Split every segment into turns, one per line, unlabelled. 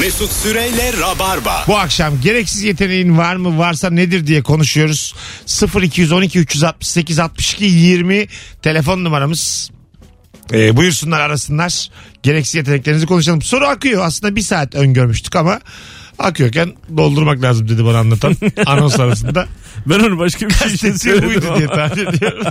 Mesut Süreyle Rabarba.
Bu akşam gereksiz yeteneğin var mı varsa nedir diye konuşuyoruz. 0212 368 62 20 telefon numaramız. Ee, buyursunlar arasınlar. Gereksiz yeteneklerinizi konuşalım. Soru akıyor. Aslında bir saat öngörmüştük ama akıyorken doldurmak lazım dedi bana anlatan anons arasında.
Ben onu başka bir şey için
Kastettiği
söyledim
buydu
ama.
diye tahmin ediyorum.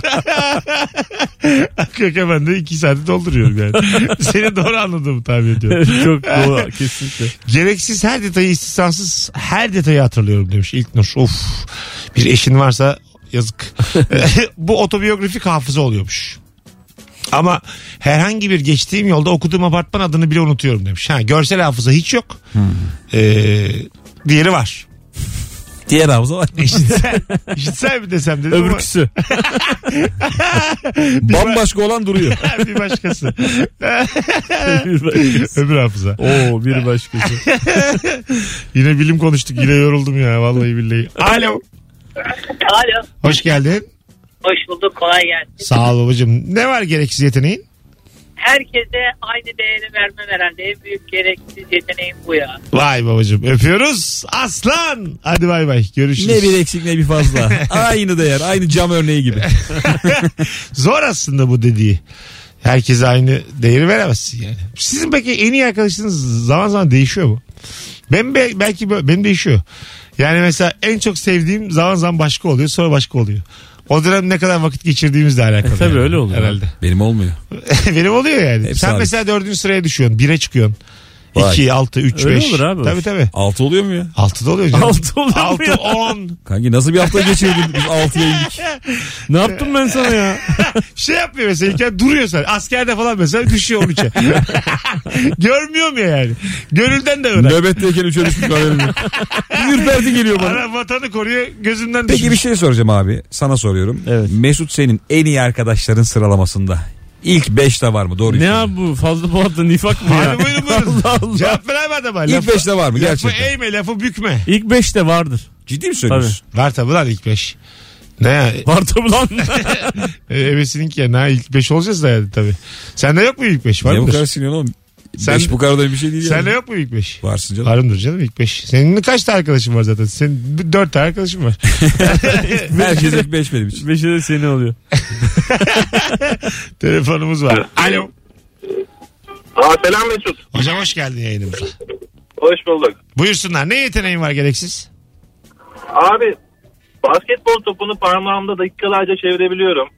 akıyorken ben de iki saati dolduruyorum yani. Seni doğru anladığımı tahmin ediyorum.
Çok doğru kesinlikle.
Gereksiz her detayı istisnasız her detayı hatırlıyorum demiş ilk Nur. Of bir eşin varsa yazık. Bu otobiyografik hafıza oluyormuş. Ama herhangi bir geçtiğim yolda okuduğum apartman adını bile unutuyorum demiş. Ha, görsel hafıza hiç yok. Ee, diğeri var.
Diğer havza var.
İşitsel, işitsel mi desem dedim ama
Öbürküsü. Bambaşka olan duruyor.
bir başkası. Öbür hafıza.
Oo bir başkası.
Yine bilim konuştuk yine yoruldum ya vallahi billahi. Alo.
Alo.
Hoş geldin.
Hoş bulduk. Kolay gelsin.
Sağ ol babacığım. Ne var gereksiz yeteneğin?
Herkese aynı değeri vermem herhalde. En büyük gereksiz yeteneğim bu ya.
Vay babacığım öpüyoruz. Aslan. Hadi bay bay görüşürüz.
ne bir eksik ne bir fazla. Aynı değer. Aynı cam örneği gibi.
Zor aslında bu dediği. Herkese aynı değeri veremezsin yani. Sizin peki en iyi arkadaşınız zaman zaman değişiyor mu? Ben be- belki bö- benim değişiyor. Yani mesela en çok sevdiğim zaman zaman başka oluyor sonra başka oluyor. O dönem ne kadar vakit geçirdiğimizle alakalı.
Tabii
yani.
öyle oluyor.
Herhalde.
Benim olmuyor.
Benim oluyor yani.
Hep
Sen
sabit.
mesela dördüncü sıraya düşüyorsun. Bire çıkıyorsun.
Vay.
2, 6, 3,
Öyle
5.
olur abi.
Tabii tabii.
6 oluyor mu ya?
Altıda oluyor canım.
Altı oluyor mu
Altı,
ya?
on.
Kanki nasıl bir hafta geçirdin biz 6'ya indik. Ne yaptım ben sana ya?
şey yapmıyor mesela İlker duruyor sen. Askerde falan mesela düşüyor 13'e. Görmüyor mu yani? Gönülden de öğren.
Nöbetteyken 3'e düşmüş haberim yok. Ürperti geliyor bana.
Ana vatanı koruyor gözünden
Peki bir
düşmüş.
şey soracağım abi. Sana soruyorum.
Evet.
Mesut senin en iyi arkadaşların sıralamasında. İlk 5'te var mı? Doğru.
Ne
söylüyorum.
abi bu fazla polatla nifak mı ya?
Hadi buyurun buyurun.
Allah Allah.
Cevap ver abi adama.
İlk 5'te var mı?
Lafı
Gerçekten.
eğme lafı bükme.
İlk 5'te vardır.
Ciddi mi söylüyorsun?
Var tabi lan ilk 5. Ne ya?
Var tabi lan.
E, Evesininki ya. Ne ha, ilk 5 olacağız da yani tabi. Sende yok mu ilk 5? Var
Niye bu
mıdır?
kadar siniyorsun oğlum?
Sen-
5 bu kadar da bir şey değil
Sende
yani.
yok mu ilk 5?
Varsın canım.
Varımdır canım ilk 5. Senin kaç tane arkadaşın var zaten? Senin 4 tane arkadaşın var.
Herkes şey ilk 5 benim için.
5'e de seni oluyor.
Telefonumuz var. Alo.
Aa, selam Mesut.
Hocam hoş geldin yayınımıza.
Hoş bulduk.
Buyursunlar. Ne yeteneğin var gereksiz?
Abi basketbol topunu parmağımda dakikalarca çevirebiliyorum.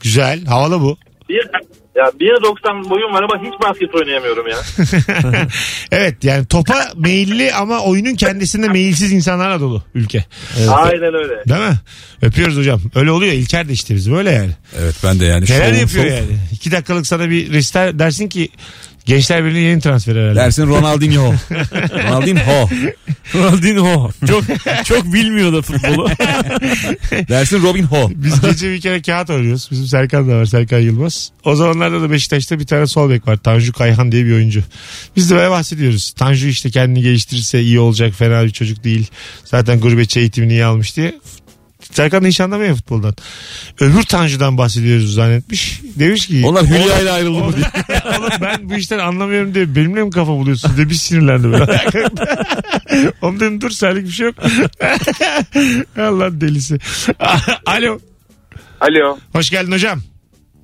Güzel. Havalı bu.
Bir ya 1.90 boyum var ama hiç basket oynayamıyorum ya.
evet yani topa meyilli ama oyunun kendisinde meyilsiz insanlarla dolu ülke.
Aynen öyle.
Değil mi? Öpüyoruz hocam. Öyle oluyor. İlker de işte bizim öyle yani.
Evet ben de yani.
Neler
Şovum,
yapıyor
şov.
yani? İki dakikalık sana bir restart dersin ki gençler birinin yeni transferi herhalde.
Dersin Ronaldinho. Ronaldinho.
Ronaldinho. Çok çok bilmiyor da futbolu.
Dersin Robin Ho.
Biz gece bir kere kağıt oynuyoruz. Bizim Serkan da var. Serkan Yılmaz. O zamanlarda da Beşiktaş'ta bir tane sol bek var. Tanju Kayhan diye bir oyuncu. Biz de böyle bahsediyoruz. Tanju işte kendini geliştirirse iyi olacak. Fena bir çocuk değil. Zaten gurbetçi eğitimini iyi almış diye. Serkan da hiç anlamıyor futboldan. Öbür Tanju'dan bahsediyoruz zannetmiş. Demiş ki
Onlar Hülya ile ayrıldı mı diye.
oğlum ben bu işten anlamıyorum diye benimle mi kafa buluyorsun diye bir sinirlendi böyle. oğlum dedim dur senlik bir şey yok. Allah delisi. Alo.
Alo.
Hoş geldin hocam.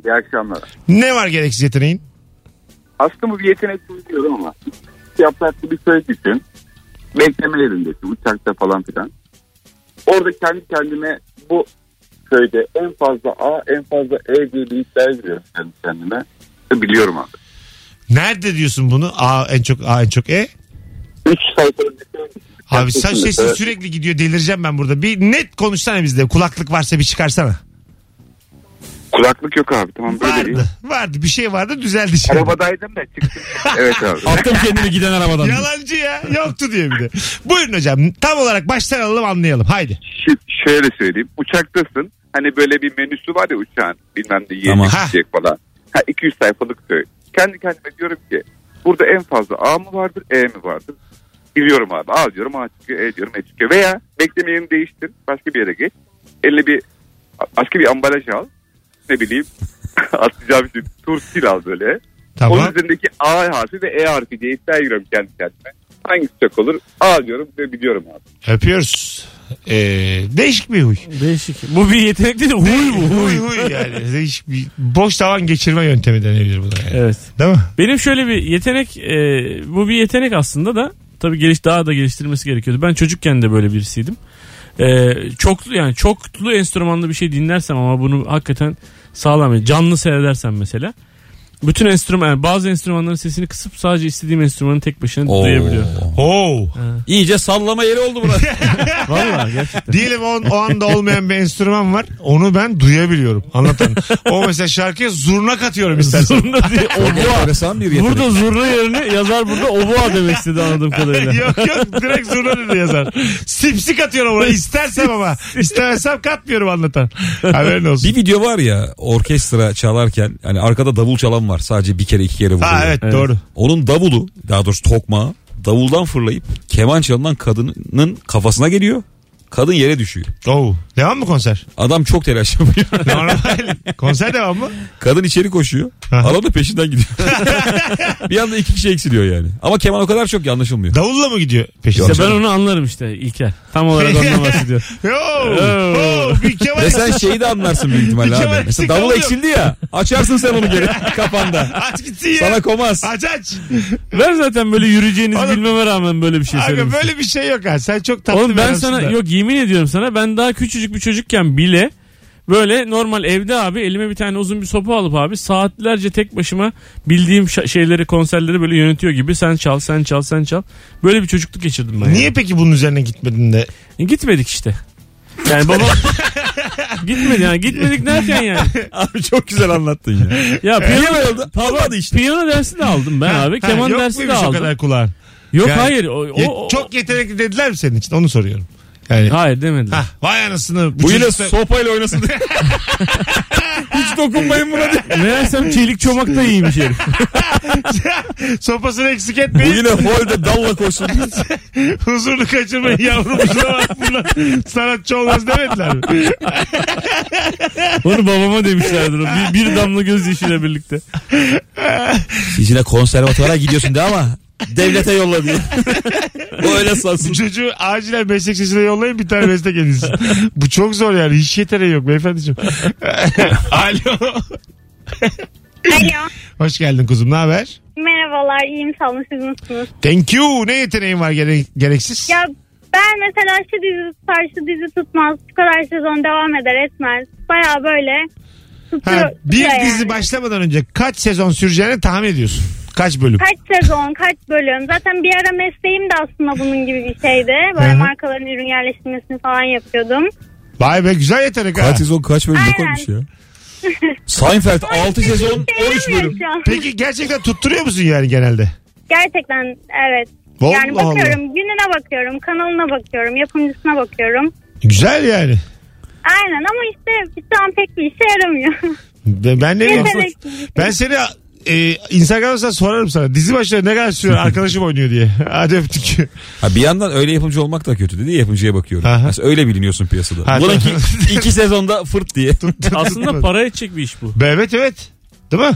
İyi akşamlar.
Ne var gereksiz yeteneğin?
Aslında bu bir yetenek diyorum ama yapraklı bir söz düşün. Bekleme yerindesin uçakta falan filan. Orada kendi kendime bu köyde en fazla A en fazla E diye linkler veriyorum kendi kendime. Biliyorum abi.
Nerede diyorsun bunu? A en çok A en çok E.
Üç sayfanın bir söz düşün.
Abi saç
Kesinlikle.
sesin sürekli gidiyor delireceğim ben burada. Bir net konuşsana bizde. Kulaklık varsa bir çıkarsana.
Kulaklık yok abi tamam böyle değil.
Vardı. Vardı. Bir şey vardı düzeldi şimdi.
Arabadaydım da çıktım. evet abi.
Attım kendimi giden arabadan.
Yalancı ya. Yoktu diye bir de. Buyurun hocam. Tam olarak baştan alalım anlayalım. Haydi.
Şi- şöyle söyleyeyim. Uçaktasın. Hani böyle bir menüsü var ya uçağın. Bilmem ne
Tamam.
yiyecek içecek falan. Ha, 200 sayfalık söyle. Kendi kendime diyorum ki burada en fazla A mı vardır E mi vardır? Biliyorum abi. A diyorum A çıkıyor E diyorum E çıkıyor. Veya bekleme yerini değiştir. Başka bir yere geç. Eline bir başka bir ambalaj al. Ne bileyim. Atacağım bir tursil al böyle.
Tamam.
Onun üzerindeki A harfi ve E harfi diye iddia giriyorum kendi kendime. Hangisi çok olur? A diyorum ve biliyorum abi.
Öpüyoruz. Ee, değişik bir huy.
Değişik. Bu bir yetenek değil de huy bu
Huy
huy.
huy yani. Değişik bir boş zaman geçirme yöntemi denebilir buna yani.
Evet.
Değil mi?
Benim şöyle bir yetenek e, bu bir yetenek aslında da tabii geliş daha da geliştirilmesi gerekiyordu. Ben çocukken de böyle birisiydim. E, çoklu yani çoklu enstrümanlı bir şey dinlersem ama bunu hakikaten sağlam canlı seyredersem mesela bütün enstrüman yani bazı enstrümanların sesini kısıp sadece istediğim enstrümanı tek başına
Oo.
duyabiliyor.
Oo.
İyice sallama yeri oldu burası.
Vallahi gerçekten.
Diyelim o, o anda olmayan bir enstrüman var. Onu ben duyabiliyorum. Anlatan. O mesela şarkıya zurna katıyorum istersen.
Zurna diye-
Enteresan bir yetenek.
burada zurna yerine yazar burada obua demek istedi anladığım kadarıyla.
yok yok direkt zurna dedi yazar. Sipsi katıyorum ona istersem ama. İstemezsem katmıyorum anlatan. Haberin olsun.
Bir video var ya orkestra çalarken hani arkada davul çalan var sadece bir kere iki kere vuruyor.
Ha evet, doğru.
Onun davulu daha doğrusu tokmağı davuldan fırlayıp keman çalınan kadının kafasına geliyor. Kadın yere düşüyor.
Oo. Devam mı konser?
Adam çok telaş yapıyor.
Normal. konser devam mı?
Kadın içeri koşuyor. Adam da peşinden gidiyor. bir anda iki kişi eksiliyor yani. Ama keman o kadar çok ki anlaşılmıyor.
Davulla mı gidiyor peşinde?
İşte ben onu anlarım işte İlker. Tam olarak ondan bahsediyor.
Yo, yo, bir kemal
Ve sen şeyi de anlarsın büyük ihtimalle
Bir keman
abi.
eksik
Mesela davul
kalıyor.
eksildi ya. Açarsın sen onu geri kafanda.
aç gitsin ya.
Sana komaz.
Aç aç.
Ben zaten böyle yürüyeceğinizi
Oğlum-
bilmeme rağmen böyle bir şey
Aga
söylemiştim.
böyle bir şey yok ha. Sen çok tatlı
Oğlum
bir
ben
adamsın
sana
da.
yok yemin ediyorum sana ben daha küçücük bir çocukken bile böyle normal evde abi elime bir tane uzun bir sopa alıp abi saatlerce tek başıma bildiğim şa- şeyleri konserleri böyle yönetiyor gibi sen çal sen çal sen çal. Böyle bir çocukluk geçirdim ben.
Niye peki bunun üzerine gitmedin de?
ya. Gitmedik işte. Yani baba gitmedi yani gitmedik derken yani.
Abi çok güzel anlattın ya.
Ya piyano,
Niye oldu? Olmadı işte.
piyano dersi de aldım ben abi.
Ha,
Keman
yok
dersi de
muymuş o
aldım.
kadar kulağın?
Yok
Yani-
hayır. O, o-
Ye-
o-
çok yetenekli dediler mi senin için? Onu soruyorum. Yani.
Hayır demediler.
Hah, vay anasını.
Bu yine
çocukta-
sopayla oynasın. Hiç dokunmayın buna diye.
Meğersem çelik çomak da iyiymiş herif.
sopasını eksik
Bu
etmeyin.
yine holde dalla koşsun.
Huzurunu kaçırmayın yavrum. Şuna bak bunlar sanatçı olmaz demediler mi?
Onu babama demişlerdir. o. Bir, bir damla gözyaşıyla birlikte.
Siz yine konservatuvara gidiyorsun de ama devlete yolla diye. o öyle sansın.
Çocuğu acilen meslek sesine yollayın bir tane meslek edilsin. Bu çok zor yani. Hiç yeteneği yok beyefendiciğim. Alo.
Alo.
Hoş geldin kuzum. Ne haber?
Merhabalar, iyiyim sağ olun. Siz nasılsınız?
Thank you. Ne yeteneğin var gere- gereksiz?
Ya ben mesela şu dizi tutar, şu dizi tutmaz. Şu kadar sezon devam eder etmez. Baya böyle tutuyor.
Ha, bir
tutuyor
dizi
yani.
başlamadan önce kaç sezon süreceğini tahmin ediyorsun. Kaç bölüm?
Kaç sezon, kaç bölüm. Zaten bir ara mesleğim de aslında bunun gibi bir şeydi.
Hı
Böyle
hı.
markaların ürün yerleştirmesini falan yapıyordum.
Vay be güzel yetenek ha.
Kaç sezon kaç bölüm ne koymuş ya? Seinfeld 6 sezon
Sevmiyorum
13 bölüm.
şu an.
Peki gerçekten tutturuyor musun yani genelde?
Gerçekten evet.
Vallahi
yani bakıyorum, gününe bakıyorum, kanalına bakıyorum, yapımcısına bakıyorum.
Güzel yani.
Aynen ama işte şu an pek bir işe yaramıyor.
Ben, ben ne bileyim.
Yetenek.
Ben seni e, Instagram'dan sorarım sana. Dizi başları ne kadar sürüyor arkadaşım oynuyor diye. Hadi öptük.
Ha bir yandan öyle yapımcı olmak da kötü dedi ya, yapımcıya bakıyorum.
Aha.
Mesela öyle biliniyorsun piyasada.
Ha,
Bununki
tamam.
iki sezonda fırt diye.
Aslında para edecek bir iş bu.
Evet evet. Değil mi?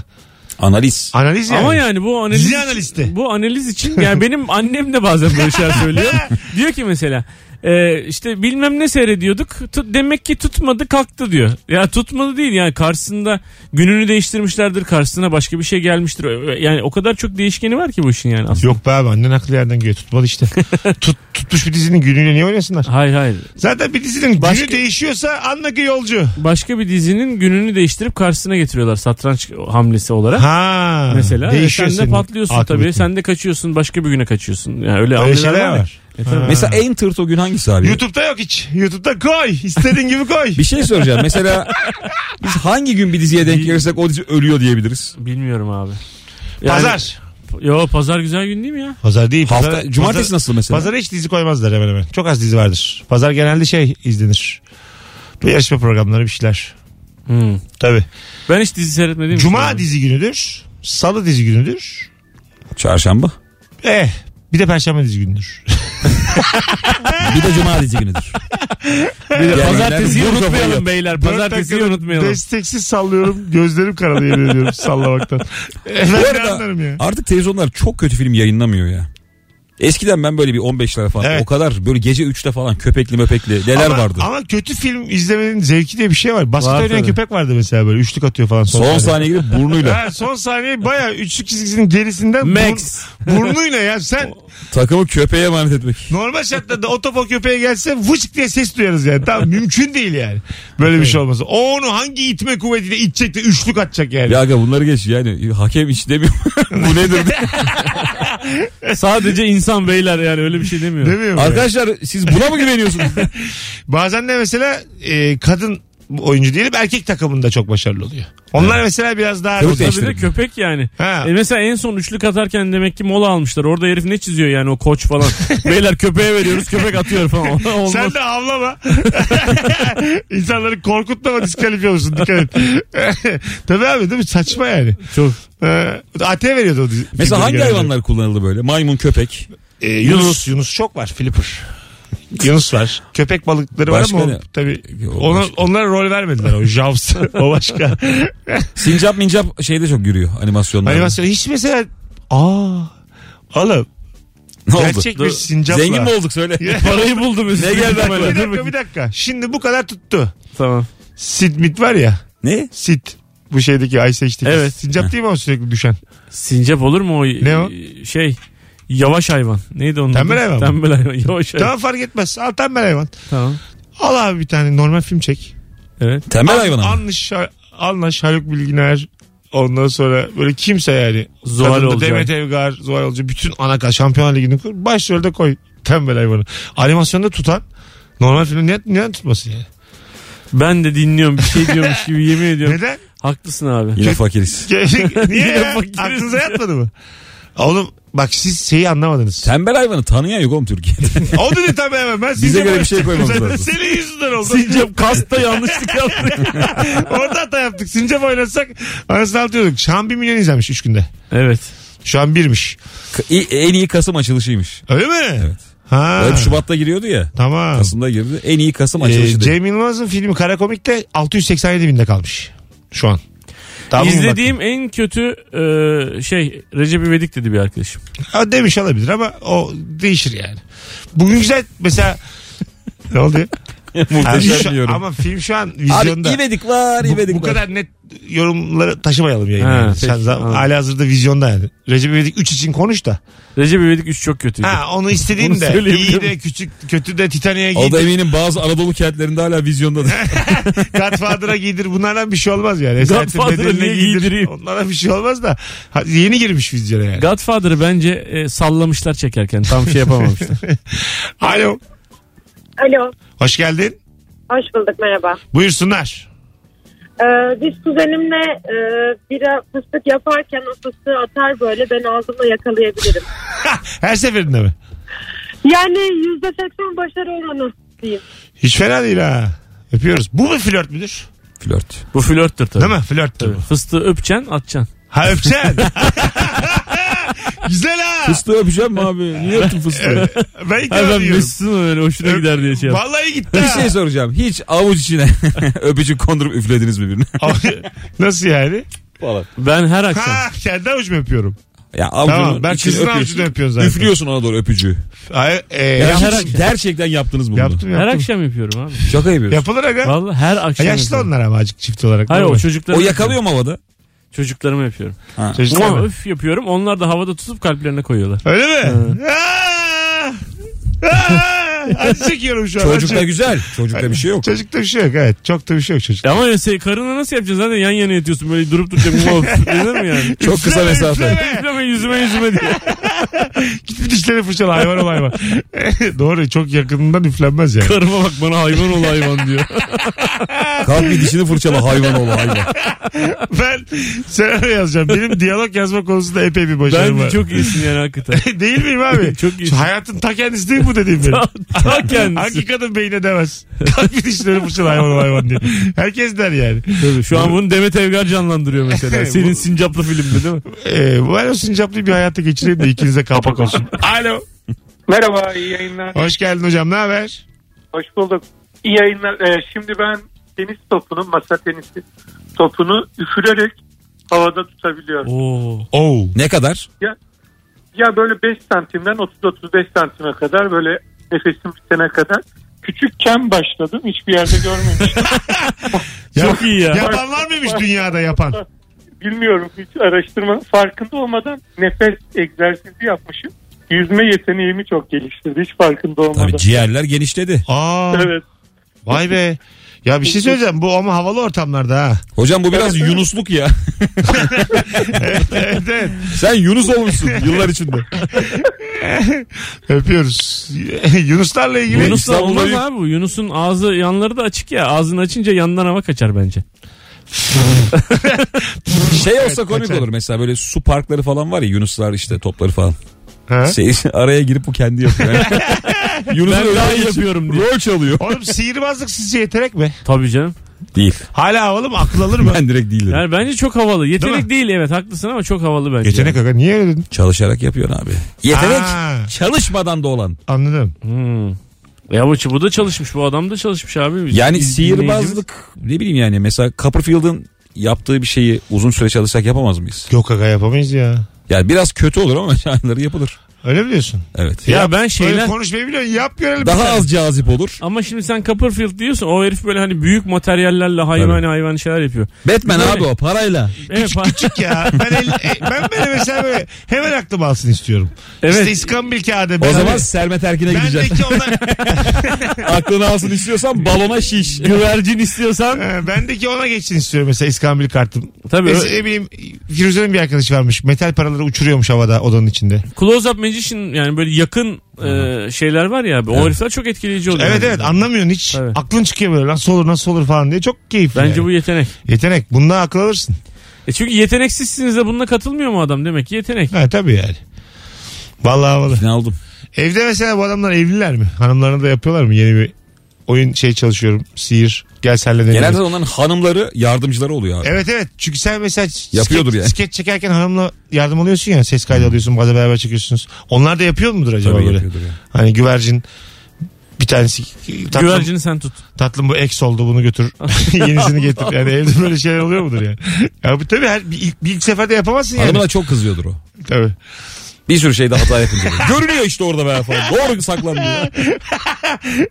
Analiz.
Analiz yani.
Ama yani bu analiz
Dizi analisti.
bu analiz için yani benim annem de bazen böyle şeyler söylüyor. diyor ki mesela e, işte bilmem ne seyrediyorduk tut, demek ki tutmadı kalktı diyor. Ya tutmadı değil yani karşısında gününü değiştirmişlerdir karşısına başka bir şey gelmiştir. Yani o kadar çok değişkeni var ki bu işin yani aslında.
Yok be abi annen haklı yerden geliyor. Tutmadı işte. Tut, tutmuş bir dizinin günüyle niye oynasınlar?
Hayır hayır.
Zaten bir dizinin
Başka-
günü değişiyorsa anla ki yolcu.
Başka bir dizinin gününü değiştirip karşısına getiriyorlar satranç hamlesi olarak.
Ha.
mesela. E,
Değişiyor
sen de
senin
patlıyorsun
akıbetin.
tabii. Sen de kaçıyorsun başka bir güne kaçıyorsun. Yani öyle
Öyle
hamleler
şeyler
var. ya.
var.
E, tabii.
Mesela en tırt o gün hangisi abi?
YouTube'da yok hiç. YouTube'da koy. İstediğin gibi koy.
Bir şey soracağım. Mesela biz hangi gün bir diziye denk gelirsek o dizi ölüyor diyebiliriz.
Bilmiyorum abi. Yani-
Pazar.
Yo pazar güzel gün değil mi ya?
Pazar değil.
Hafta,
pazara-
cumartesi
pazara-
nasıl mesela?
Pazara hiç dizi koymazlar hemen hemen. Çok az dizi vardır. Pazar genelde şey izlenir. Bu yarışma programları bir şeyler.
Hmm.
Tabii.
Ben hiç dizi seyretmediğim için
Cuma
abi.
dizi günüdür. Salı dizi günüdür.
Çarşamba.
Eh bir de perşembe dizi günüdür.
Bir de cuma dizi günüdür.
Bir de
Yani
Pazartesiyi
ben-
unutmayalım beyler. Pazartesiyi
Dört dakikada
Şey
unutmayalım.
Desteksiz sallıyorum. Gözlerim karalı yemin ediyorum sallamaktan. Eh, ben
Bu
ne
arada
anlarım ya.
artık televizyonlar çok kötü film yayınlamıyor ya. Eskiden ben böyle bir 15 lira falan
Evet.
o kadar böyle gece 3'te falan köpekli möpekli neler
ama,
vardı.
Ama kötü film izlemenin zevki diye bir şey var. Basket
Var
oynayan
tabii.
köpek vardı mesela böyle üçlük atıyor falan.
son
sahnede.
saniye gidip burnuyla
Ha, son saniye baya üçlük çizgisinin gerisinden
Max.
burn- burnuyla ya sen
takımı köpeğe emanet etmek.
normal şartlarda o topa köpeğe gelse vışk diye ses duyarız yani. Tamam mümkün değil yani. Böyle bir şey olmasa. O onu hangi itme kuvvetiyle itecek de üçlük atacak yani.
Ya aga bunları geç yani hakem hiç demiyor. Bu nedir?
Sadece insan beyler yani öyle bir şey demiyor.
Demiyor mu? ya?
Arkadaşlar siz buna mı güveniyorsunuz?
Bazen de mesela e, kadın oyuncu diyelim erkek takımında çok başarılı oluyor. Onlar mesela biraz daha
Tabii de.
Tabii de köpek yani.
Ha.
E mesela en son üçlük atarken demek ki mola almışlar. Orada herif ne çiziyor yani o koç falan. Beyler köpeğe veriyoruz köpek atıyor falan. Olmaz.
Sen de avlama. İnsanları korkutma ama diskalifiye olursun. Dikkat et. Tabii abi değil mi? Saçma yani.
Çok.
Ee, AT veriyordu o dizi-
Mesela
figürü
hangi
genelde.
hayvanlar kullanıldı böyle? Maymun, köpek.
Ee, Yunus. Yunus çok var. Flipper. Yunus var. Köpek balıkları
Başka
var ama
ne?
o- tabii
O
ona,
başka.
onlara rol vermediler o Jaws o başka.
Sincap mincap şeyde çok yürüyor animasyonlarda.
Animasyon hiç mesela aa oğlum
ne oldu?
gerçek bir
Dur.
sincapla.
Zengin mi olduk söyle.
Parayı buldum üstüne.
Ne geldi aklına?
bir
Dur
dakika
bakayım.
bir dakika. Şimdi bu kadar tuttu.
Tamam.
Sid Mit var ya.
ne?
Sid. Bu şeydeki Ay seçtik.
Evet.
Sincap değil mi o sürekli düşen?
Sincap olur mu o? e,
Ne o?
Şey. Yavaş hayvan. Neydi onun
Tembel
adı?
hayvan mı?
Tembel hayvan. Yavaş hayvan.
Tamam fark etmez. Al tembel hayvan.
Tamam.
Al abi bir tane normal film çek.
Evet.
Tembel hayvan ama.
Anlaş, Anlaş Haluk Bilginer. Ondan sonra böyle kimse yani.
Zuhal
Kadında
Olcay.
Demet Evgar, Zuhal Olcay. Bütün ana kadar şampiyonlar ligini kur. Başrolde koy tembel hayvanı. Animasyonda tutan normal filmi niye, niye tutmasın yani?
Ben de dinliyorum bir şey diyormuş gibi yemin ediyorum.
Neden?
Haklısın abi.
Yine fakiriz.
niye
Yine
ya?
fakiriz
Aklınıza yatmadı mı? Oğlum bak siz şeyi anlamadınız.
Tembel hayvanı tanıyan yok oğlum Türkiye'de.
o dedi tabii hemen. Ben
Bize göre bir şey koymamız lazım.
Senin yüzünden oldu.
Sincap kasta yanlışlık yaptı.
Orada hata yaptık. Sincap oynasak anasını atıyorduk. Şu an bir milyon izlenmiş üç günde.
evet.
Şu an birmiş.
K- i- en iyi Kasım açılışıymış.
Öyle mi?
Evet. şey-
Ha.
Hep Şubat'ta giriyordu ya.
Tamam.
Kasım'da girdi. En iyi Kasım açılışı
Ee,
dedi.
Cem Yılmaz'ın filmi Karakomik'te 687 binde kalmış. Şu an. Tamam mı
İzlediğim en kötü e, şey Recep İvedik dedi bir arkadaşım.
bak? Ha, demiş olabilir ama o değişir yani. Bugün güzel mesela ne oldu ya? Abi şu-
Muhteşem yorum.
Ama film şu an
Abi
vizyonda.
İvedik var
bu,
İvedik
bu
var.
kadar net yorumları taşımayalım yayına.
Ha,
yani.
peki,
Sen zaten
anladım.
hala hazırda vizyonda yani. Recep İvedik 3 için konuş da.
Recep İvedik 3 çok kötüydü.
Ha onu istediğin
Bunu
de
söyleyebilirim.
iyi de küçük kötü de Titanic'e
O da
giydir.
eminim bazı Anadolu kentlerinde hala vizyondadır.
Godfather'a giydir. Bunlardan bir şey olmaz yani. Esaretin
Godfather'a
bedeline
niye
giydir.
giydireyim?
Onlara bir şey olmaz da. Ha, yeni girmiş vizyona yani.
Godfather'ı bence e, sallamışlar çekerken tam şey yapamamışlar.
Alo.
Alo,
Hoş geldin.
hoş bulduk, merhaba.
Buyursunlar.
Ee, biz kuzenimle e, bira fıstık yaparken o fıstığı atar böyle ben ağzımla yakalayabilirim.
Her seferinde mi?
Yani yüzde seksen başarı oranı diyeyim.
Hiç fena değil ha. Öpüyoruz. Bu mu flört müdür?
Flört.
Bu flörttür tabii.
Değil mi? Flörttür bu.
Fıstığı öpeceksin atacaksın.
Ha öpeceksin. Güzel ha.
Fıstığı öpeceğim mi abi? Niye öptün fıstığı?
Ben ilk
Ha,
defa
ben
diyorum.
Mesut'un öyle hoşuna gider diye şey yaptım.
Vallahi gitti
bir
ha.
şey soracağım. Hiç avuç içine öpücük kondurup üflediniz mi birine?
Nasıl yani?
Ben her akşam.
Ha kendi avucumu öpüyorum.
ya avucunu
Tamam ben
içine
kızın avucunu
öpüyorsun.
öpüyorum zaten.
Üflüyorsun ona doğru öpücüğü.
Ay, e,
Ya
yap-
hiç şey- gerçekten yaptınız mı bunu?
yaptım
Her
yaptım.
akşam yapıyorum abi.
Şaka yapıyorsun.
Yapılır aga.
Vallahi her
Ha,
akşam.
yaşlı
yapıyorum.
onlar ama azıcık çift olarak.
Hayır
değil
o
mi?
çocukları.
O yakalıyor mu havada?
Çocuklarımı yapıyorum.
Çocuklar
Ama
mı?
öf yapıyorum. Onlar da havada tutup kalplerine koyuyorlar.
Öyle mi? Aa! Aa! Acı çekiyorum şu an.
Çocukta
acı.
güzel. Çocukta bir şey yok.
Çocukta bir şey yok evet. Çok da bir şey yok çocuk.
Ya E Ama ya sen karınla nasıl yapacaksın? Zaten yan yana yatıyorsun böyle durup duracak. Of, denir mi yani?
Çok kısa
Üfleme,
mesafe.
üfleme.
Üfleme yüzüme yüzüme diye.
Git bir dişleri fırçala hayvan ol hayvan. Doğru çok yakından üflenmez yani.
Karıma bak bana hayvan ol hayvan diyor.
Kalk bir dişini fırçala hayvan oğlu hayvan.
Ben senaryo yazacağım. Benim diyalog yazma konusunda epey bir başarım
Bence
var.
çok iyisin yani hakikaten.
değil miyim abi?
Çok iyi.
Şu hayatın ta kendisi değil mi bu dediğim benim?
Ta kendisi.
Hangi kadın beyine demez? Kalk bir dişleri fırçala hayvan ol hayvan diye. Herkes der yani.
Tabii, şu an bunu Demet Evgar canlandırıyor mesela. Senin
Bu-
sincaplı filmde değil mi?
Ee, bu alo sincaplı bir hayata geçireyim de ikinize kapak olsun. Alo.
Merhaba iyi yayınlar.
Hoş geldin hocam ne haber?
Hoş bulduk. İyi yayınlar. Ee, şimdi ben tenis topunu, masa tenisi topunu üfürerek havada tutabiliyorum.
Oo.
Oo.
Ne kadar?
ya böyle 5 santimden 30-35 santime kadar böyle nefesim bitene kadar küçükken başladım. Hiçbir yerde görmemiştim.
Çok iyi ya.
Yapan var mıymış dünyada yapan?
Bilmiyorum hiç araştırma farkında olmadan nefes egzersizi yapmışım. Yüzme yeteneğimi çok geliştirdi hiç farkında olmadan.
Tabii ciğerler genişledi.
Aa,
Evet.
Vay be. Ya bir şey söyleyeceğim bu ama havalı ortamlarda ha.
Hocam bu biraz Yunusluk ya.
evet, evet.
Sen Yunus olmuşsun yıllar içinde.
Öpüyoruz. Yunuslarla ilgili.
Yunus'la
İstanbul'da
olmaz
bir-
abi bu. Yunus'un ağzı yanları da açık ya. Ağzını açınca yandan hava kaçar bence.
Şey olsa komik
kaçar.
olur mesela böyle su parkları falan var ya Yunuslar işte topları falan.
Ha?
Şey, araya girip bu kendi yapıyor. Yunus'un
Ben daha iyi
öyle şey-
yapıyorum diye.
rol çalıyor.
Oğlum sihirbazlık sizce yeterek mi?
Tabii canım.
Değil.
Hala havalı mı? Akıl alır mı?
Ben direkt değil dedim.
Yani bence çok havalı. Yetenek
Değil
değil, evet haklısın ama çok havalı bence.
Yetenek aga niye öyle dedin?
Çalışarak yapıyorsun abi. Yetenek
Ha.
çalışmadan da olan.
Anladım.
Hmm. Ya bu, bu da çalışmış. Bu adam da çalışmış abi.
Yani
Biz-
sihirbazlık ne bileyim yani mesela Copperfield'ın yaptığı bir şeyi uzun süre çalışsak yapamaz mıyız?
Yok aga yapamayız ya.
Yani biraz kötü olur ama şahinleri yapılır.
Öyle mi diyorsun?
Evet.
Ya ben
Öyle
şeyler...
konuşmayı biliyorsun. Yap görelim.
Daha az cazip olur.
Ama şimdi sen Copperfield diyorsun. O herif böyle hani büyük materyallerle hayvan hayvan şeyler yapıyor.
Batman
Böyle-
abi o parayla.
Evet, fa-
Küçük ya. Ben, el, e, ben böyle mesela böyle hemen aklım alsın istiyorum.
Evet.
İşte iskambil kağıdı.
O zaman Sermet Erkin'e
ben de
gideceksin.
ki ona,
Aklını alsın istiyorsan balona şiş.
güvercin istiyorsan.
He, ben de ki Ee, ona geçsin istiyorum mesela iskambil kartım.
Tabii.
Mesela ne bileyim Firuze'nin bir arkadaşı varmış. Metal paraları uçuruyormuş havada odanın içinde.
Close Up Magician yani böyle yakın e, şeyler var ya abi. O herifler çok etkileyici oluyor.
Evet evet anlamıyorsun hiç.
Tabii.
Aklın çıkıyor böyle nasıl olur nasıl olur falan diye. Çok keyifli.
Bence
yani.
bu yetenek.
Yetenek. Bundan akıl alırsın.
E çünkü yeteneksizsiniz de bununla katılmıyor mu adam demek ki yetenek.
Ha, tabii yani. Vallahi havalı.
Ne oldum?
Evde mesela bu adamlar evliler mi? Hanımlarına da yapıyorlar mı? Yeni bir oyun şey çalışıyorum. Sihir. Gel senle deneyelim.
Genelde onların hanımları yardımcıları oluyor abi.
Evet evet. Çünkü sen mesela
Yapıyordur
skeç,
yani.
skeç çekerken hanımla yardım alıyorsun ya. Ses kaydı alıyorsun. Bazen beraber çekiyorsunuz. Onlar da yapıyor mudur acaba
Tabii
böyle?
yapıyordur ya.
Hani güvercin bir tanesi tatlım,
Güvercini sen tut.
tatlım bu eks oldu bunu götür yenisini getir yani evde böyle şeyler oluyor mudur yani ya bu tabii her, bir, ilk, bir ilk seferde yapamazsın yani
Hanımına çok kızıyordur o.
tabii.
Bir sürü şeyde hata yapınca. Görünüyor işte orada be falan. Doğru saklanmıyor.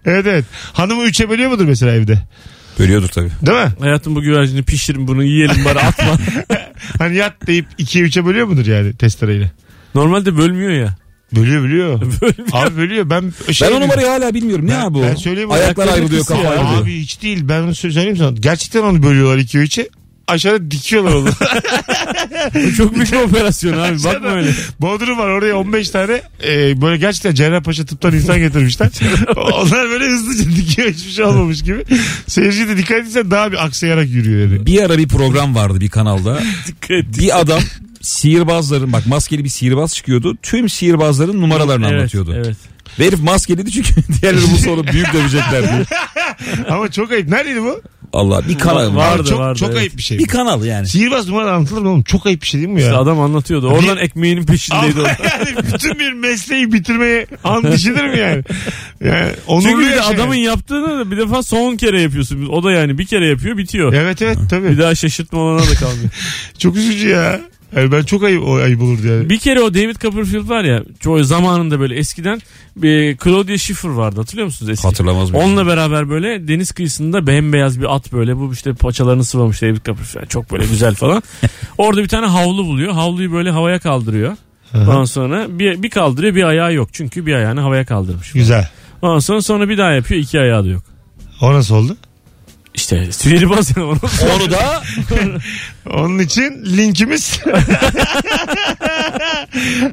evet evet hanımı üçe bölüyor mudur mesela evde
Görüyordur tabii.
değil mi
Hayatım bu güvercini pişirin bunu yiyelim bari atma.
hani yat deyip ikiye üçe bölüyor mudur yani testereyle
Normalde bölmüyor ya.
bölüyor bölüyor
Bölmüyor.
abi bölüyor ben şey
Ben o numarayı hala bilmiyorum. Ne
Ben-
abi o?
ben söyleyeyim mi?
Ayaklar
Ayakları
ayrılıyor,
kısa
kafa
ya.
ayrılıyor.
abi hiç değil ben onu söyleyeyim sana gerçekten onu bölüyorlar ikiye üçe aşağıda dikiyorlar onu
Bu çok büyük bir operasyon abi bakma öyle.
Bodrum var oraya 15 tane e, böyle gerçekten Cerrahpaşa tıptan insan getirmişler. Onlar böyle hızlıca dikiyor hiçbir şey olmamış gibi. Seyirci de dikkat etse daha bir aksayarak yürüyor yani.
Bir ara bir program vardı bir kanalda.
Dikkat et.
bir adam sihirbazların bak maskeli bir sihirbaz çıkıyordu. Tüm sihirbazların numaralarını
Evet,
anlatıyordu.
Evet.
Ve herif maskeliydi çünkü diğerleri bu sonra büyük dövecekler diye.
Ama çok ayıp. Neredeydi bu?
Allah bir kanal.
Var- Vardı,
çok
vardı,
çok
evet.
ayıp bir şey.
Bir kanal yani.
Sihirbaz numara anlatılır mı oğlum? Çok ayıp bir şey değil mi ya?
İşte adam anlatıyordu. Oradan
Bir-
ekmeğinin peşindeydi. o.
Ama yani bütün bir mesleği bitirmeye and içilir mi yani? yani onurlu
Çünkü bir de
yaşa yani.
adamın yaptığını da bir defa son kere yapıyorsun. O da yani bir kere yapıyor bitiyor.
Evet evet tabii.
Bir daha şaşırtma olana da kalmıyor.
Çok üzücü ya. Yani ben çok ayıp, o ayıp olurdu yani.
bir kere o David Copperfield var ya çoğu zamanında böyle eskiden bir Claudia Schiffer vardı hatırlıyor musunuz eski?
Hatırlamaz mıyım?
Onunla beraber böyle deniz kıyısında bembeyaz bir at böyle bu işte paçalarını sıvamış David Copperfield çok böyle güzel falan. Orada bir tane havlu buluyor. Havluyu böyle havaya kaldırıyor. Ondan sonra bir, bir kaldırıyor bir ayağı yok. Çünkü bir ayağını havaya kaldırmış.
Güzel.
Ondan sonra sonra bir daha yapıyor iki ayağı da yok.
O nasıl oldu?
İşte sihirbaz yani onu.
Onu da
Onun için linkimiz.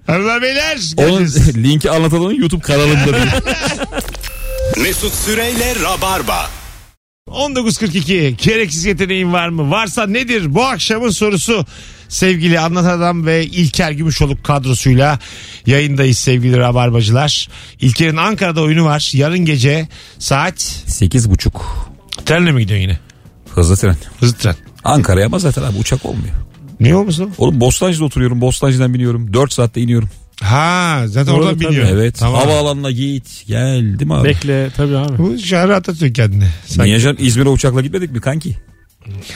Hanımlar beyler.
onun
geleceğiz.
linki anlatanın YouTube kanalında bir.
Mesut Süreyle Rabarba.
19.42 gereksiz yeteneğin var mı? Varsa nedir? Bu akşamın sorusu sevgili Anlatan Adam ve İlker Gümüşoluk kadrosuyla yayındayız sevgili Rabarbacılar. İlker'in Ankara'da oyunu var. Yarın gece saat
Sekiz buçuk.
trenle mi gidiyorsun yine?
Hızlı tren.
Hızlı tren.
Ankara'ya ama zaten abi uçak olmuyor.
Niye olmasın?
Oğlum Bostancı'da oturuyorum. Bostancı'dan biniyorum. 4 saatte iniyorum.
Ha zaten
Doğru,
oradan
tabii.
biniyor.
Evet.
Tamam.
Havaalanına git. Gel değil mi abi?
Bekle tabii abi.
Bu şahane atlatıyor kendini. Sanki.
Niye canım İzmir'e uçakla gitmedik mi kanki?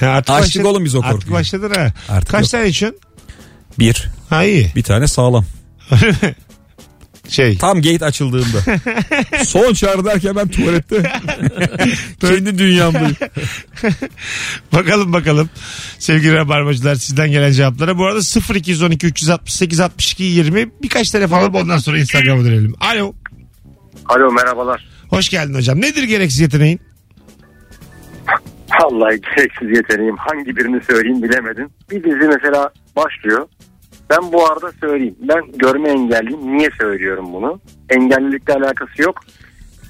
Ha, Artık
Açtık
başladın-
oğlum biz o
Artık
korkuyu.
başladın ha.
Artık
Kaç
yok.
tane için?
Bir.
Ha iyi.
Bir tane sağlam.
Şey.
Tam gate açıldığında. Son çağrı derken ben tuvalette. Kendi dünyamdayım.
Bakalım bakalım sevgili rabarbacılar sizden gelen cevaplara. Bu arada 0212 368 62 20 birkaç telefon alıp ondan sonra Instagram'a dönelim. Alo.
Alo merhabalar.
Hoş geldin hocam. Nedir gereksiz yeteneğin?
Vallahi gereksiz yeteneğim. Hangi birini söyleyeyim bilemedim. Bir dizi mesela başlıyor. Ben bu arada söyleyeyim. Ben görme engelliyim. Niye söylüyorum bunu? Engellilikle alakası yok.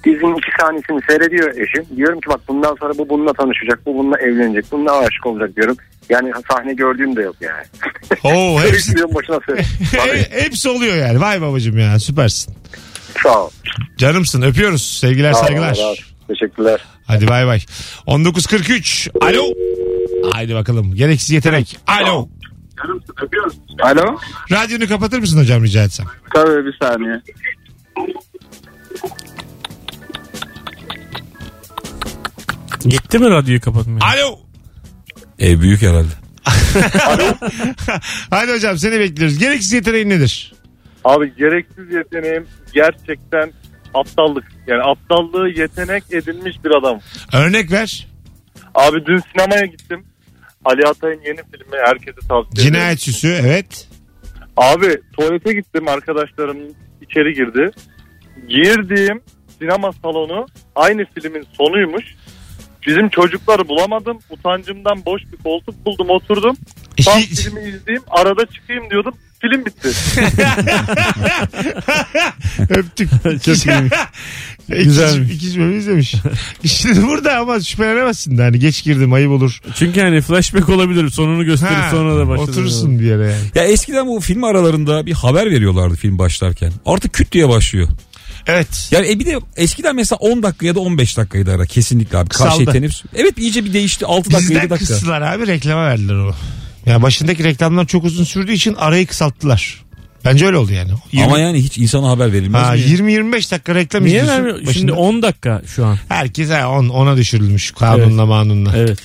Dizinin iki sahnesini seyrediyor eşim. Diyorum ki bak bundan sonra bu bununla tanışacak. Bu bununla evlenecek. Bununla aşık olacak diyorum. Yani sahne gördüğüm de yok yani.
Oo hepsi,
Söylüyorum boşuna söylüyorum.
he- hepsi oluyor yani. Vay babacım ya süpersin.
Sağ ol.
Canımsın öpüyoruz. Sevgiler
Sağ ol,
saygılar.
Allah razı olsun. Teşekkürler.
Hadi bay bay. 19.43. Alo. Haydi bakalım. Gereksiz yetenek. Alo.
Alo.
Radyonu kapatır mısın hocam rica etsem?
Tabii bir saniye.
Gitti mi radyoyu kapatmaya?
Ah.
Alo.
E büyük herhalde.
Hadi hocam seni bekliyoruz. Gereksiz yeteneğin nedir?
Abi gereksiz yeteneğim gerçekten aptallık. Yani aptallığı yetenek edinmiş bir adam.
Örnek ver.
Abi dün sinemaya gittim. Ali Atay'ın yeni filmi herkese tavsiye
Cinayet süsü evet.
Abi tuvalete gittim arkadaşlarım içeri girdi. Girdiğim sinema salonu aynı filmin sonuymuş. Bizim çocukları bulamadım. Utancımdan boş bir koltuk buldum oturdum. Tam filmi izleyeyim arada çıkayım diyordum. Film bitti.
Öptük.
Çok iyiymiş.
Güzelmiş. İkinci bölümü izlemiş. Şimdi burada ama şüphelenemezsin de hani geç girdim ayıp olur.
Çünkü hani flashback olabilir. Sonunu gösterir
Ha,
sonra da başlar.
Oturursun bir yere yani.
Ya eskiden bu film aralarında bir haber veriyorlardı film başlarken. Artık küt diye başlıyor.
Evet.
Yani e bir de eskiden mesela 10 dakika ya da 15 dakikaydı ara kesinlikle abi. Karşı
Kısaldı.
yeteneği- Evet iyice bir değişti 6 dakika 7
Bizden
dakika.
kıstılar abi reklama verdiler onu. Ya başındaki reklamlar çok uzun sürdüğü için arayı kısalttılar. Bence öyle oldu yani.
Ama
Yirmi-
yani hiç insana haber verilmez
Ha,
mi?
20-25 dakika reklam
Niye
izliyorsun.
vermiyor? Şimdi
Başında-
10 dakika şu an.
Herkes ha, on, ona düşürülmüş kanunla manunla.
Evet.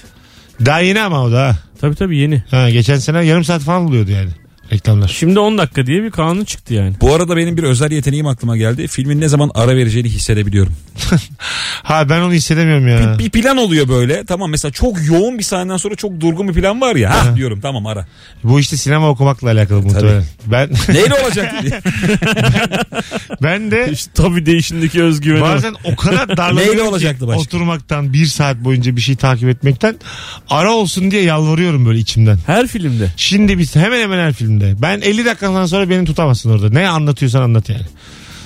Daha yeni ama o da ha.
Tabii tabii yeni.
ha. Geçen sene yarım saat falan buluyordu yani reklamlar.
Şimdi 10 dakika diye bir kanun çıktı yani.
Bu arada benim bir özel yeteneğim aklıma geldi. Filmin ne zaman ara vereceğini hissedebiliyorum.
Ha ben onu hissedemiyorum ya.
Bir plan oluyor böyle. Tamam mesela çok yoğun bir sahneden sonra çok durgun bir plan var ya. Ha diyorum tamam ara.
Bu işte sinema okumakla alakalı muhtemelen. Ben
Neyle olacak diye.
ben de
İşte tabii değişimdeki özgüveni. var.
bazen o kadar darlanıyorum
Neyle
ki
olacaktı başka?
oturmaktan bir saat boyunca bir şey takip etmekten ara olsun diye yalvarıyorum böyle içimden.
Her filmde.
Şimdi biz hemen hemen her filmde. Ben 50 dakikadan sonra beni tutamazsın orada. Ne anlatıyorsan anlat yani.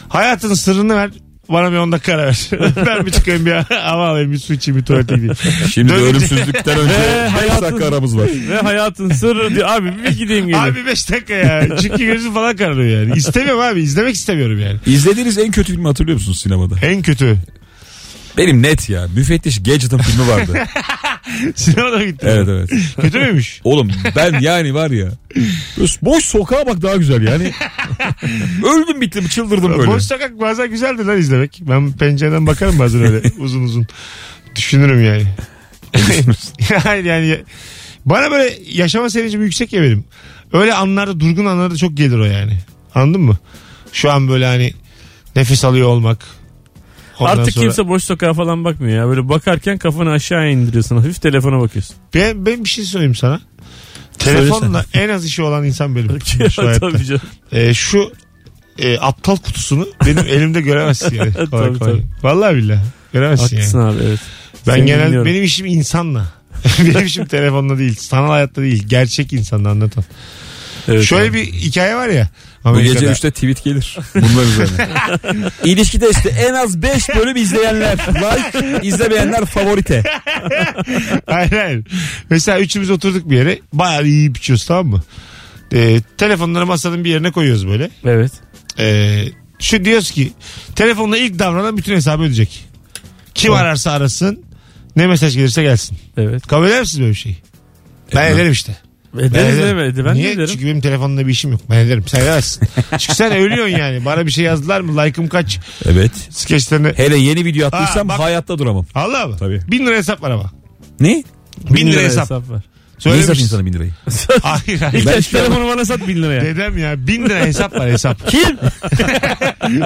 Hayatın sırrını ver. Bana bir 10 dakika ara ver. ben bir çıkayım bir hava alayım bir su içeyim bir tuvalete gideyim.
Şimdi
Dönünce-
ölümsüzlükten önce 5 dakika aramız var.
Ve hayatın sırrı diyor. Abi bir gideyim geleyim.
Abi 5 dakika ya. Çünkü gözüm falan kararıyor yani. İstemiyorum abi. izlemek istemiyorum yani.
İzlediğiniz en kötü filmi hatırlıyor musunuz sinemada?
En kötü.
Benim net ya. Müfettiş Gadget'ın filmi vardı.
Sinemada gittim.
evet evet.
Kötü müymüş?
Oğlum ben yani var ya. Boş sokağa bak daha güzel yani. Öldüm bittim çıldırdım böyle.
Boş sokak bazen güzeldir lan izlemek. Ben pencereden bakarım bazen öyle uzun uzun. Düşünürüm yani. Hayır yani bana böyle yaşama sevincim yüksek ya benim. Öyle anlarda durgun anlarda çok gelir o yani. Anladın mı? Şu an böyle hani nefes alıyor olmak. Ondan
Artık
sonra-
kimse boş sokağa falan bakmıyor ya. Böyle bakarken kafanı aşağı indiriyorsun. Hafif telefona bakıyorsun.
Ben, ben bir şey söyleyeyim sana.
Söyle
Telefonla en az işi olan insan benim. şu hayatta.
Tabii canım.
Ee, şu e, aptal kutusunu benim elimde göremezsin yani. Kolay
Tabii,
kolay.
tabii.
Vallahi billahi göremezsin yani.
Haklısın abi evet.
Ben
Seni
genel
dinliyorum.
benim işim insanla. benim işim telefonla değil. Sanal hayatta değil. Gerçek insanla anlatan.
Evet
Şöyle
abi.
bir hikaye var ya.
Bu
Amerika'da.
gece 3'te tweet gelir. Bunlar üzerine. İlişki testi en az 5 bölüm izleyenler. Like, izlemeyenler favorite.
Hayır hayır. Mesela üçümüz oturduk bir yere. Bayağı bir yiyip içiyoruz tamam mı? Ee, telefonları masanın bir yerine koyuyoruz böyle.
Evet.
Ee, şu diyoruz ki telefonla ilk davranan bütün hesabı ödeyecek. Kim ararsa arasın. Ne mesaj gelirse gelsin.
Evet. E,
Kabul eder misiniz böyle bir şeyi? Ben ederim işte.
Ederiz
ederim.
evet. Ben
Niye?
de ederim.
Çünkü benim telefonda bir işim yok. Ben ederim. Sen edemezsin. Çünkü sen ölüyorsun yani. Bana bir şey yazdılar mı? Like'ım kaç?
Evet.
Skeçlerine.
Hele yeni video attıysam
Ha, bak-
hayatta duramam.
Allah mı?
Tabii.
Bin lira hesap var ama.
Ne?
Bin, lira, hesap.
var.
Niye
Söylemiş.
satayım sana bin lirayı?
Hayır hayır.
İlk
Ben
ben
şu an-
telefonu bana sat 1000 liraya.
Dedem ya bin lira hesap var hesap.
Kim?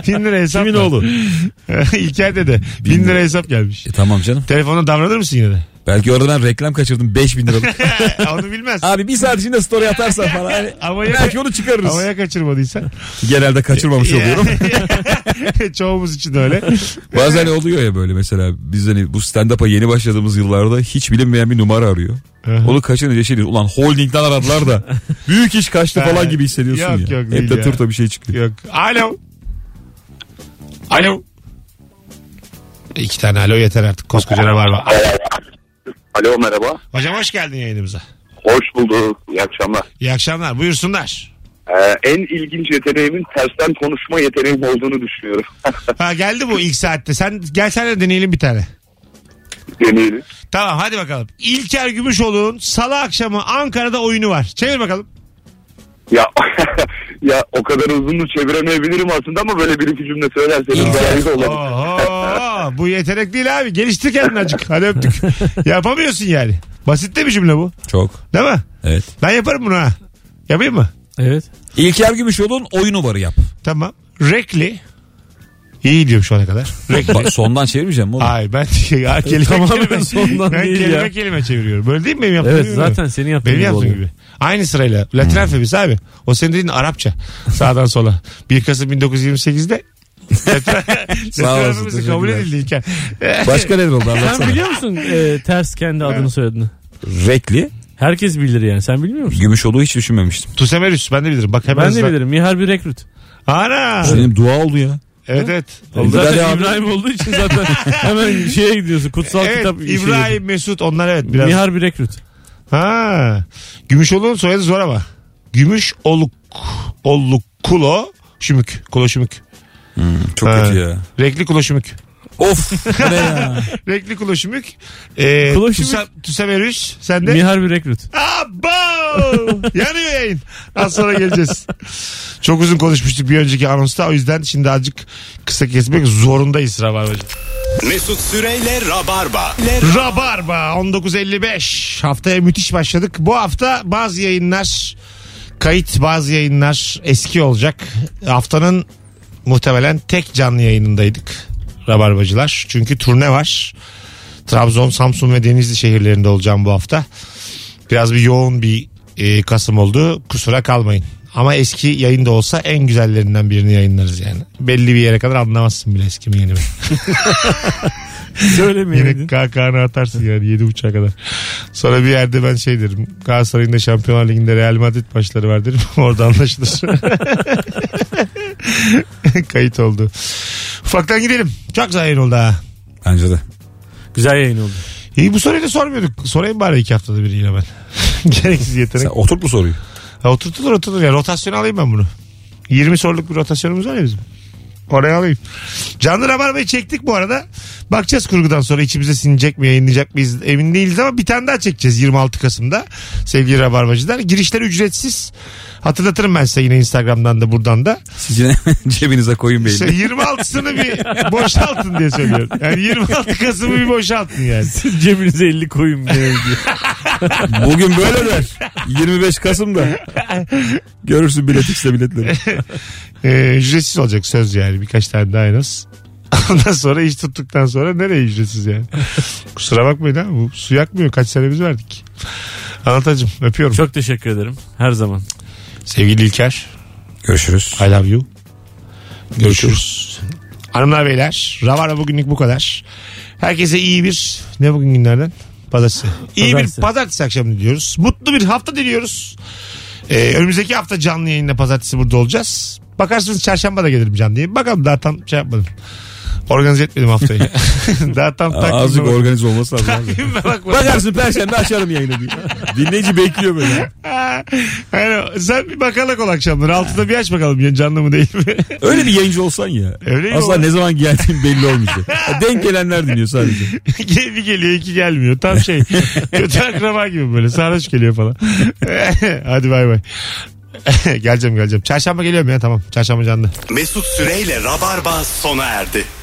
bin lira hesap
Kimin
var.
oğlu?
İlker dede. Bin lira hesap gelmiş.
E, tamam canım.
Telefonda davranır mısın yine de?
Belki orada ben reklam kaçırdım 5000 liralık.
Onu bilmez.
Abi bir saat içinde story atarsan falan. hani
Ama ya-
belki onu çıkarırız.
Havaya kaçırmadıysan.
Genelde kaçırmamış oluyorum.
Çoğumuz için de öyle.
Bazen oluyor ya böyle mesela biz hani bu stand-up'a yeni başladığımız yıllarda hiç bilinmeyen bir numara arıyor.
Aha.
Onu kaçırınca şey diyor ulan holdingden aradılar da büyük iş kaçtı
Ha.
falan gibi hissediyorsun
Yok,
ya.
yok, değil
Hep de
ya.
turta bir şey çıkıyor.
Yok. Alo. Alo. İki tane alo yeter artık. Koskoca rabarba. Alo.
Alo merhaba.
Hocam hoş geldin yayınımıza.
Hoş bulduk. İyi akşamlar.
İyi akşamlar. Buyursunlar.
Ee, en ilginç yeteneğimin tersten konuşma yeteneğim olduğunu düşünüyorum.
Ha geldi bu ilk saatte. Sen gel sen de deneyelim bir tane.
Deneyelim.
Tamam hadi bakalım. İlker Gümüşoğlu'nun salı akşamı Ankara'da oyunu var. Çevir bakalım.
Ya ya o kadar uzunluğu çeviremeyebilirim aslında ama böyle bir iki cümle söylerseniz değerli olur.
Oho, bu yetenek değil abi. Geliştir kendini azıcık. Hadi öptük. Yapamıyorsun yani. Basit de bir cümle bu.
Çok.
Değil mi?
Evet.
Ben yaparım bunu ha. Yapayım mı?
Evet.
İlker Gümüşoğlu'nun oyunu varı yap.
Tamam. Rekli. İyi diyorum şu ana kadar.
Bak, sondan çevirmeyeceğim mi oğlum?
Ay ben şey, ya, kelime
Tamamen
kelime.
sondan
ben
değil
kelime
ya.
kelime çeviriyorum. Böyle değil mi benim yaptığım
Evet
gibi?
zaten senin yaptığın
Benim
gibi
yaptığım
oluyor. Hmm.
gibi. Aynı sırayla. Latin alfabesi abi. O senin dediğin Arapça. Sağdan sola. 1 Kasım 1928'de Latin- Latin
Sağ olasın,
alfabesi kabul
teşekkürler.
edildi İlker.
Başka neler oldu anlatsana.
Sen biliyor musun e, ters kendi adını soyadını?
Rekli.
Herkes bilir yani. Sen bilmiyor musun?
Gümüşoğlu'yu hiç düşünmemiştim.
Tusemerüs ben de bilirim. Bak hemen
Ben de
hızla-
bilirim. Mihar bir
E,
rekrut.
Ana.
Benim dua oldu ya.
Evet evet.
Oldu. Hadi
Zaten
abi.
İbrahim olduğu için zaten hemen şeye gidiyorsun. Kutsal
Evet
kitap şey işi
İbrahim Mesut onlar evet
gibi.
biraz.
Mihar bir rekrut.
Ha. Gümüşoğlu'nun soyadı zor ama. Gümüş oluk oluk kulo şümük. Kulo şümük.
Çok
Ha.
kötü ya.
Renkli kulo şümük.
Of. bu ne ya?
Renkli kulo şümük. Ee,
Kulo şümük.
Tüsem- Tüsemerüş. Sen de.
Mihar bir rekrut.
Abo! Yanıyor yayın. Az sonra geleceğiz. Çok uzun konuşmuştuk bir önceki anonsta. O yüzden şimdi azıcık kısa kesmek zorundayız Rabarbacı.
Mesut Süreyle Rabarba.
Rabarba 19.55. Haftaya müthiş başladık. Bu hafta bazı yayınlar kayıt bazı yayınlar eski olacak. Haftanın muhtemelen tek canlı yayınındaydık. Rabarbacılar. Çünkü turne var. Trabzon, Samsun ve Denizli şehirlerinde olacağım bu hafta. Biraz bir yoğun bir e, Kasım oldu. Kusura kalmayın. Ama eski yayın da olsa en güzellerinden birini yayınlarız yani. Belli bir yere kadar anlamazsın bile eski mi yeni mi. Yine
Söylemeyeydin.
kahkahanı atarsın yani 7.30'a kadar. Sonra bir yerde ben şey derim. Galatasaray'ın da Şampiyonlar Ligi'nde Real Madrid maçları var derim. Orada anlaşılır. Kayıt oldu. Ufaktan gidelim. Çok zahir oldu ha.
Bence de.
Güzel yayın oldu.
İyi bu soruyu da sormuyorduk. Sorayım bari iki haftada bir yine ben. Gereksiz yetenek.
Sen otur bu soruyu.
Ha, oturtulur oturtulur ya. Rotasyon alayım ben bunu. 20 soruluk bir rotasyonumuz var ya bizim. Oraya alayım. Canlı Rabarba'yı çektik bu arada. Bakacağız kurgudan sonra içimize sinecek mi yayınlayacak mıyız emin değiliz ama bir tane daha çekeceğiz 26 Kasım'da sevgili Rabarbacılar. Girişler ücretsiz. Hatırlatırım ben size yine Instagram'dan da buradan da.
Siz yine cebinize koyun belli.
İşte 26'sını bir boşaltın diye söylüyorum. Yani 26 Kasım'ı bir boşaltın yani.
Siz cebinize 50 koyun diye.
Bugün böyle der. 25 Kasım'da. Görürsün bilet işte biletleri.
Ee, ücretsiz olacak söz yani birkaç tane daha en az. Ondan sonra iş tuttuktan sonra nereye ücretsiz yani? Kusura bakmayın ha bu su yakmıyor kaç sene biz verdik. Anlatacım öpüyorum.
Çok teşekkür ederim. Her zaman.
Sevgili İlker
Görüşürüz.
I love you. Görüşürüz. Hanımlar beyler Ravar'a bugünlük bu kadar. Herkese iyi bir ne bugün günlerden? Pazartesi. İyi
Pazartesi.
bir pazartesi akşamı diliyoruz. Mutlu bir hafta diliyoruz. Ee, önümüzdeki hafta canlı yayında pazartesi burada olacağız. Bakarsınız çarşamba da gelirim canlıya. Bakalım daha tam şey yapmadım. Organize etmedim haftayı. daha tam
Aa, Azıcık
takvime bak-
organize olması lazım. abi.
takvime bakmadım.
Bakarsın perşembe açarım yayını diye. Dinleyici bekliyor böyle.
Yani sen bir bakalak ol akşamları. Altıda bir aç bakalım ya canlı mı değil mi?
Öyle bir yayıncı olsan ya.
Öyle mi
Asla
o?
ne zaman geldiğin belli olmayacak. Ya Denk gelenler dinliyor sadece.
bir geliyor iki gelmiyor. Tam şey kötü akraba gibi böyle sarhoş geliyor falan. Hadi bay bay. geleceğim geleceğim. Çarşamba geliyorum ya tamam. Çarşamba canlı.
Mesut Süreyle Rabarba sona erdi.